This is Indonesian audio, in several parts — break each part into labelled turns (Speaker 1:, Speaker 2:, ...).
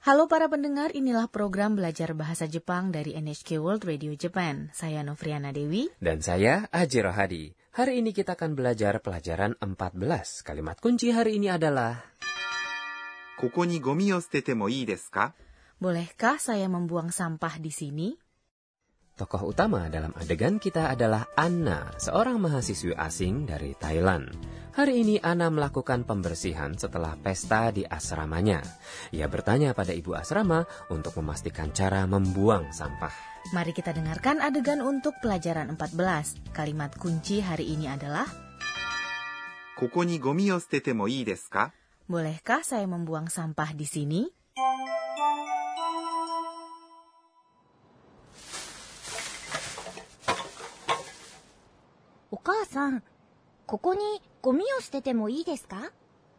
Speaker 1: Halo para pendengar, inilah program belajar bahasa Jepang dari NHK World Radio Japan. Saya Novriana Dewi.
Speaker 2: Dan saya, Aji Rohadi. Hari ini kita akan belajar pelajaran 14. Kalimat kunci hari ini adalah
Speaker 3: ここにゴミを捨ててもいいですか
Speaker 1: Bolehkah saya membuang sampah di sini?
Speaker 2: Tokoh utama dalam adegan kita adalah Anna, seorang mahasiswi asing dari Thailand. Hari ini Anna melakukan pembersihan setelah pesta di asramanya. Ia bertanya pada ibu asrama untuk memastikan cara membuang sampah.
Speaker 1: Mari kita dengarkan adegan untuk pelajaran 14. Kalimat kunci hari ini adalah,
Speaker 3: ここにゴミを捨ててもいいですか
Speaker 1: Bolehkah saya membuang sampah di sini?
Speaker 4: 「お母さんここにゴミを捨ててもいいですか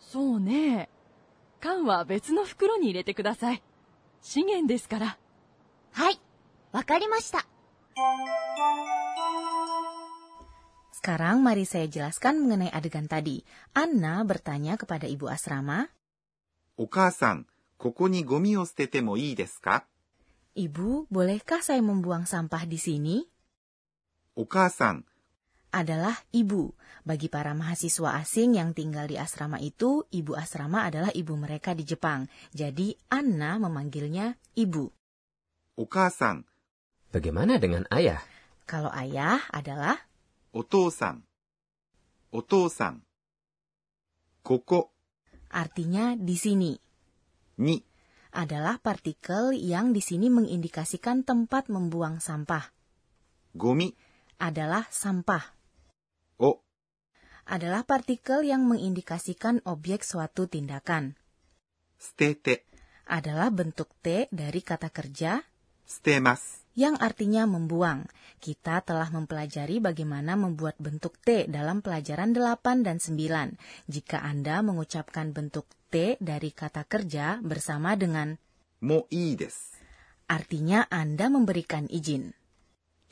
Speaker 5: そうね。缶は別の袋に入れてください。資源ですから。
Speaker 4: はいわかりました」
Speaker 1: Sekarang mari saya jelaskan mengenai adegan tadi. Anna bertanya kepada ibu asrama,
Speaker 3: お母さん、ここにゴミを捨ててもいいですか
Speaker 1: Ibu, bolehkah saya membuang sampah di sini?
Speaker 3: お母さん、
Speaker 1: Adalah ibu. Bagi para mahasiswa asing yang tinggal di asrama itu, ibu asrama adalah ibu mereka di Jepang. Jadi Anna memanggilnya ibu.
Speaker 3: お母さん、
Speaker 2: Bagaimana dengan ayah?
Speaker 1: Kalau ayah adalah
Speaker 3: お父さん、お父さん。ここ
Speaker 1: artinya di sini.
Speaker 3: に
Speaker 1: Adalah partikel yang di sini mengindikasikan tempat membuang sampah.
Speaker 3: ゴミ
Speaker 1: Adalah sampah.
Speaker 3: を
Speaker 1: adalah partikel yang mengindikasikan objek suatu tindakan.
Speaker 3: 捨てて、
Speaker 1: Adalah bentuk T dari kata kerja
Speaker 3: 捨てます。
Speaker 1: yang artinya membuang. Kita telah mempelajari bagaimana membuat bentuk T dalam pelajaran 8 dan 9. Jika Anda mengucapkan bentuk T dari kata kerja bersama dengan
Speaker 3: もういいです。
Speaker 1: artinya Anda memberikan izin.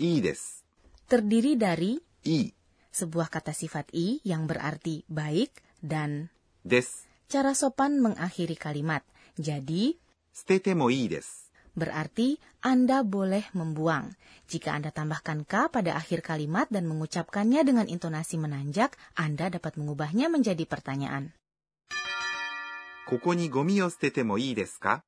Speaker 3: いいです。
Speaker 1: Terdiri dari
Speaker 3: いい
Speaker 1: sebuah kata sifat I yang berarti baik dan
Speaker 3: です。
Speaker 1: cara sopan mengakhiri kalimat. Jadi,
Speaker 3: 捨ててもいいです。
Speaker 1: berarti Anda boleh membuang. Jika Anda tambahkan K pada akhir kalimat dan mengucapkannya dengan intonasi menanjak, Anda dapat mengubahnya menjadi pertanyaan.
Speaker 3: ここにゴミを捨ててもいいですか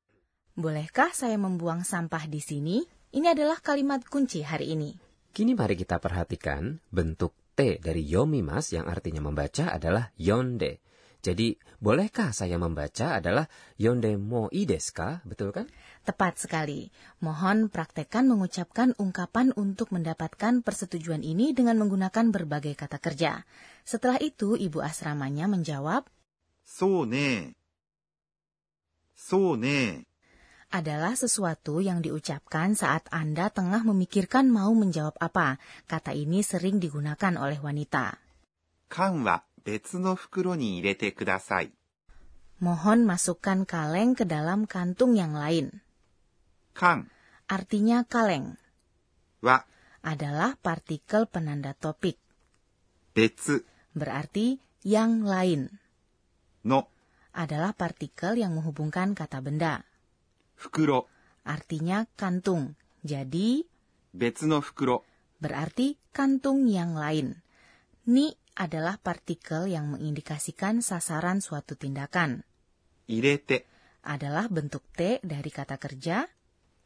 Speaker 1: Bolehkah saya membuang sampah di sini? Ini adalah kalimat kunci hari ini.
Speaker 2: Kini mari kita perhatikan bentuk T dari yomimas yang artinya membaca adalah yonde. Jadi, bolehkah saya membaca adalah yonde mo ideska, betul kan?
Speaker 1: Tepat sekali. Mohon praktekkan mengucapkan ungkapan untuk mendapatkan persetujuan ini dengan menggunakan berbagai kata kerja. Setelah itu, ibu asramanya menjawab,
Speaker 3: そうねえ。そうね
Speaker 1: adalah sesuatu yang diucapkan saat Anda tengah memikirkan mau menjawab apa. Kata ini sering digunakan oleh wanita.
Speaker 3: え。缶は別の袋に入れてください。
Speaker 1: Mohon masukkan kaleng ke dalam kantung yang lain.
Speaker 3: 缶
Speaker 1: Artinya kaleng
Speaker 3: は
Speaker 1: adalah partikel penanda topik,
Speaker 3: 別
Speaker 1: berarti yang lain
Speaker 3: の
Speaker 1: adalah partikel yang menghubungkan kata benda,
Speaker 3: 袋、
Speaker 1: artinya kantung. Jadi,
Speaker 3: 別の袋
Speaker 1: berarti kantung yang lain. Ni adalah partikel yang mengindikasikan sasaran suatu tindakan.
Speaker 3: 入れて、
Speaker 1: Adalah bentuk T dari kata kerja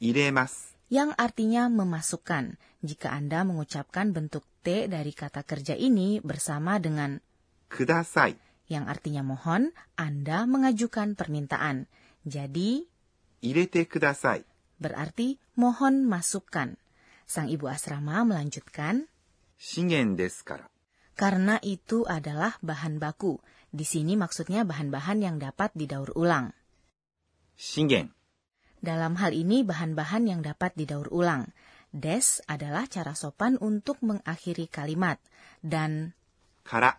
Speaker 3: 入れます。
Speaker 1: yang artinya memasukkan. Jika Anda mengucapkan bentuk T dari kata kerja ini bersama dengan
Speaker 3: ください。
Speaker 1: yang artinya mohon, Anda mengajukan permintaan. Jadi,
Speaker 3: 入れてください。
Speaker 1: berarti mohon masukkan. Sang ibu asrama melanjutkan,
Speaker 3: 資源ですから。
Speaker 1: Karena itu adalah bahan baku. Di sini maksudnya bahan-bahan yang dapat didaur ulang.
Speaker 3: 資源、
Speaker 1: Dalam hal ini bahan-bahan yang dapat didaur ulang. Des adalah cara sopan untuk mengakhiri kalimat. Dan
Speaker 3: から、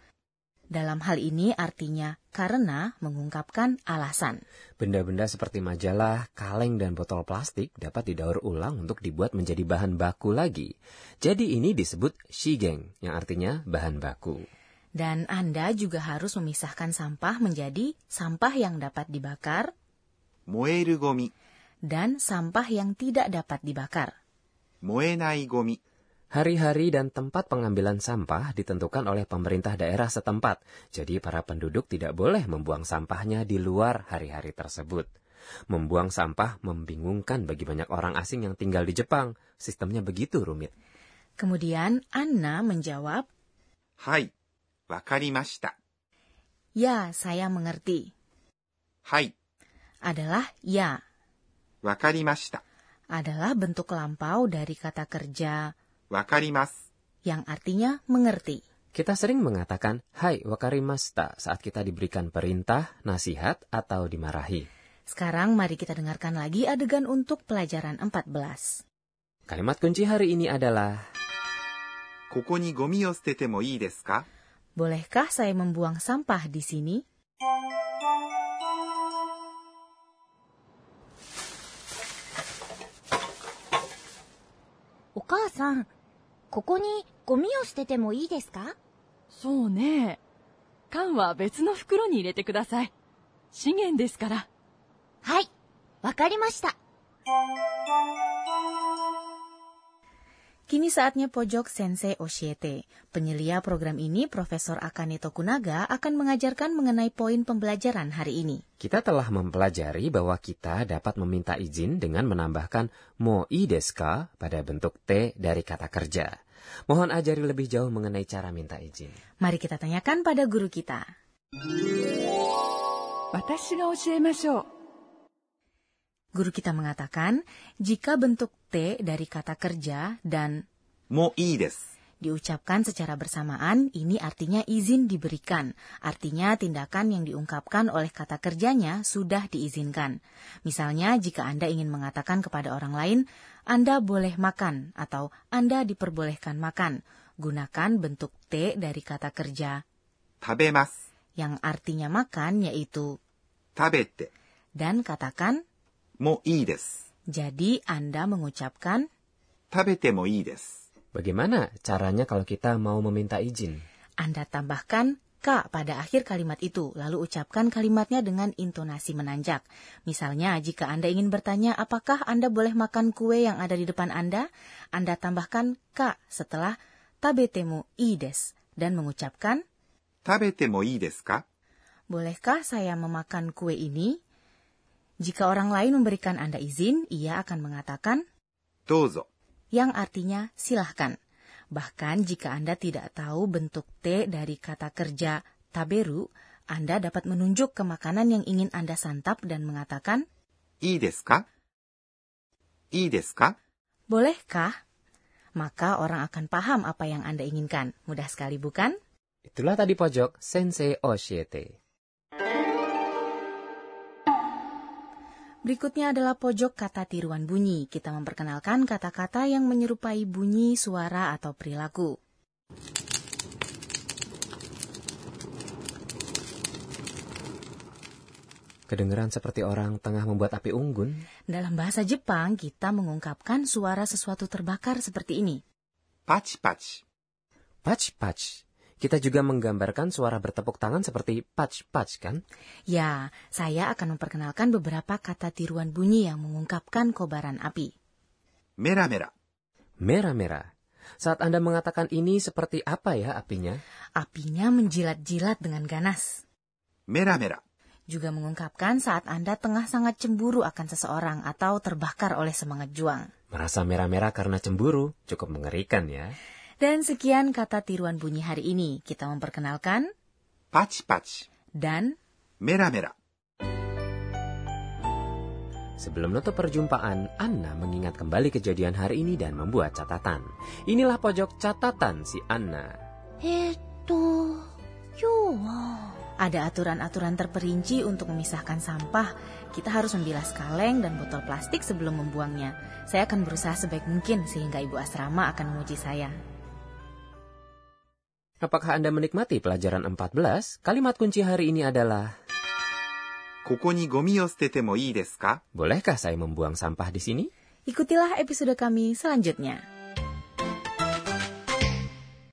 Speaker 1: dalam hal ini artinya karena mengungkapkan alasan.
Speaker 2: Benda-benda seperti majalah, kaleng, dan botol plastik dapat didaur ulang untuk dibuat menjadi bahan baku lagi. Jadi, ini disebut shigeng, yang artinya bahan baku.
Speaker 1: Dan Anda juga harus memisahkan sampah menjadi sampah yang dapat dibakar
Speaker 3: 燃えるゴミ、
Speaker 1: dan sampah yang tidak dapat dibakar.
Speaker 3: 燃えないゴミ、
Speaker 2: Hari-hari dan tempat pengambilan sampah ditentukan oleh pemerintah daerah setempat, jadi para penduduk tidak boleh membuang sampahnya di luar hari-hari tersebut. Membuang sampah membingungkan bagi banyak orang asing yang tinggal di Jepang. Sistemnya begitu rumit.
Speaker 1: Kemudian Anna menjawab,
Speaker 3: はい、わかりました。
Speaker 1: ya saya mengerti.
Speaker 3: はい、
Speaker 1: Adalah ya,
Speaker 3: わかりました。
Speaker 1: adalah bentuk lampau dari kata kerja
Speaker 3: わかります。
Speaker 1: yang artinya mengerti.
Speaker 2: Kita sering mengatakan, Hai wakarimasta, saat kita diberikan perintah, nasihat, atau dimarahi.
Speaker 1: Sekarang mari kita dengarkan lagi adegan untuk pelajaran 14.
Speaker 2: Kalimat kunci hari ini adalah,
Speaker 3: ここにゴミを捨ててもいいですか
Speaker 1: Bolehkah saya membuang sampah di sini?
Speaker 4: 「お母さんここにゴミを捨ててもいいですか
Speaker 5: そうね。缶は別の袋に入れてください。資源ですから。
Speaker 4: はいわかりました
Speaker 1: Kini saatnya pojok Sensei Oshiete. Penyelia program ini, Profesor Akane Tokunaga, akan mengajarkan mengenai poin pembelajaran hari ini.
Speaker 2: Kita telah mempelajari bahwa kita dapat meminta izin dengan menambahkan moi desu ka pada bentuk T dari kata kerja. Mohon ajari lebih jauh mengenai cara minta izin.
Speaker 1: Mari kita tanyakan pada guru kita.
Speaker 5: 私が教えましょう。
Speaker 1: Guru kita mengatakan, jika bentuk T dari kata kerja dan
Speaker 3: もういいです。
Speaker 1: diucapkan secara bersamaan, ini artinya izin diberikan. Artinya tindakan yang diungkapkan oleh kata kerjanya sudah diizinkan. Misalnya, jika Anda ingin mengatakan kepada orang lain, Anda boleh makan atau Anda diperbolehkan makan. Gunakan bentuk T dari kata kerja
Speaker 3: 食べます。
Speaker 1: yang artinya makan yaitu
Speaker 3: 食べて、
Speaker 1: dan katakan
Speaker 3: もういいです。
Speaker 1: jadi Anda mengucapkan
Speaker 3: 食べてもいいです。
Speaker 2: Bagaimana caranya kalau kita mau meminta izin?
Speaker 1: Anda tambahkan K pada akhir kalimat itu, lalu ucapkan kalimatnya dengan intonasi menanjak. Misalnya, jika Anda ingin bertanya apakah Anda boleh makan kue yang ada di depan Anda, Anda tambahkan K setelah tabetemu ides dan mengucapkan,
Speaker 3: 食べてもいいですか
Speaker 1: bolehkah saya memakan kue ini? Jika orang lain memberikan Anda izin, ia akan mengatakan,
Speaker 3: どうぞ。
Speaker 1: yang artinya silahkan. Bahkan jika Anda tidak tahu bentuk T dari kata kerja taberu, Anda dapat menunjuk ke makanan yang ingin Anda santap dan mengatakan,
Speaker 3: いいですかいいですか
Speaker 1: bolehkah? Maka orang akan paham apa yang Anda inginkan. Mudah sekali bukan?
Speaker 2: Itulah tadi pojok Sensei Oshiete.
Speaker 1: Berikutnya adalah pojok kata tiruan bunyi. Kita memperkenalkan kata-kata yang menyerupai bunyi, suara, atau perilaku.
Speaker 2: Kedengeran seperti orang tengah membuat api unggun.
Speaker 1: Dalam bahasa Jepang, kita mengungkapkan suara sesuatu terbakar seperti ini.
Speaker 3: パチパチ。
Speaker 2: Patch patch. Kita juga menggambarkan suara bertepuk tangan seperti patch patch kan?
Speaker 1: Ya, saya akan memperkenalkan beberapa kata tiruan bunyi yang mengungkapkan kobaran api.
Speaker 3: メラメラ。
Speaker 2: Merah-merah. Saat Anda mengatakan ini seperti apa ya apinya?
Speaker 1: Apinya menjilat-jilat dengan ganas.
Speaker 3: メラメラ。
Speaker 1: Juga mengungkapkan saat Anda tengah sangat cemburu akan seseorang atau terbakar oleh semangat juang.
Speaker 2: Merasa merah-merah karena cemburu cukup mengerikan ya.
Speaker 1: Dan sekian kata tiruan bunyi hari ini. Kita memperkenalkan
Speaker 3: パチパチ。
Speaker 1: dan
Speaker 3: メラメラ。
Speaker 2: Sebelum nutup perjumpaan, Anna mengingat kembali kejadian hari ini dan membuat catatan. Inilah pojok catatan si Anna.
Speaker 4: えーっと今日は
Speaker 1: ada aturan-aturan terperinci untuk memisahkan sampah. Kita harus membilas kaleng dan botol plastik sebelum membuangnya. Saya akan berusaha sebaik mungkin sehingga ibu asrama akan memuji saya.
Speaker 2: Apakah Anda menikmati pelajaran 14? Kalimat kunci hari ini adalah,
Speaker 3: ここにゴミを捨ててもいいですか
Speaker 2: Bolehkah saya membuang sampah di sini?
Speaker 1: Ikutilah episode kami selanjutnya.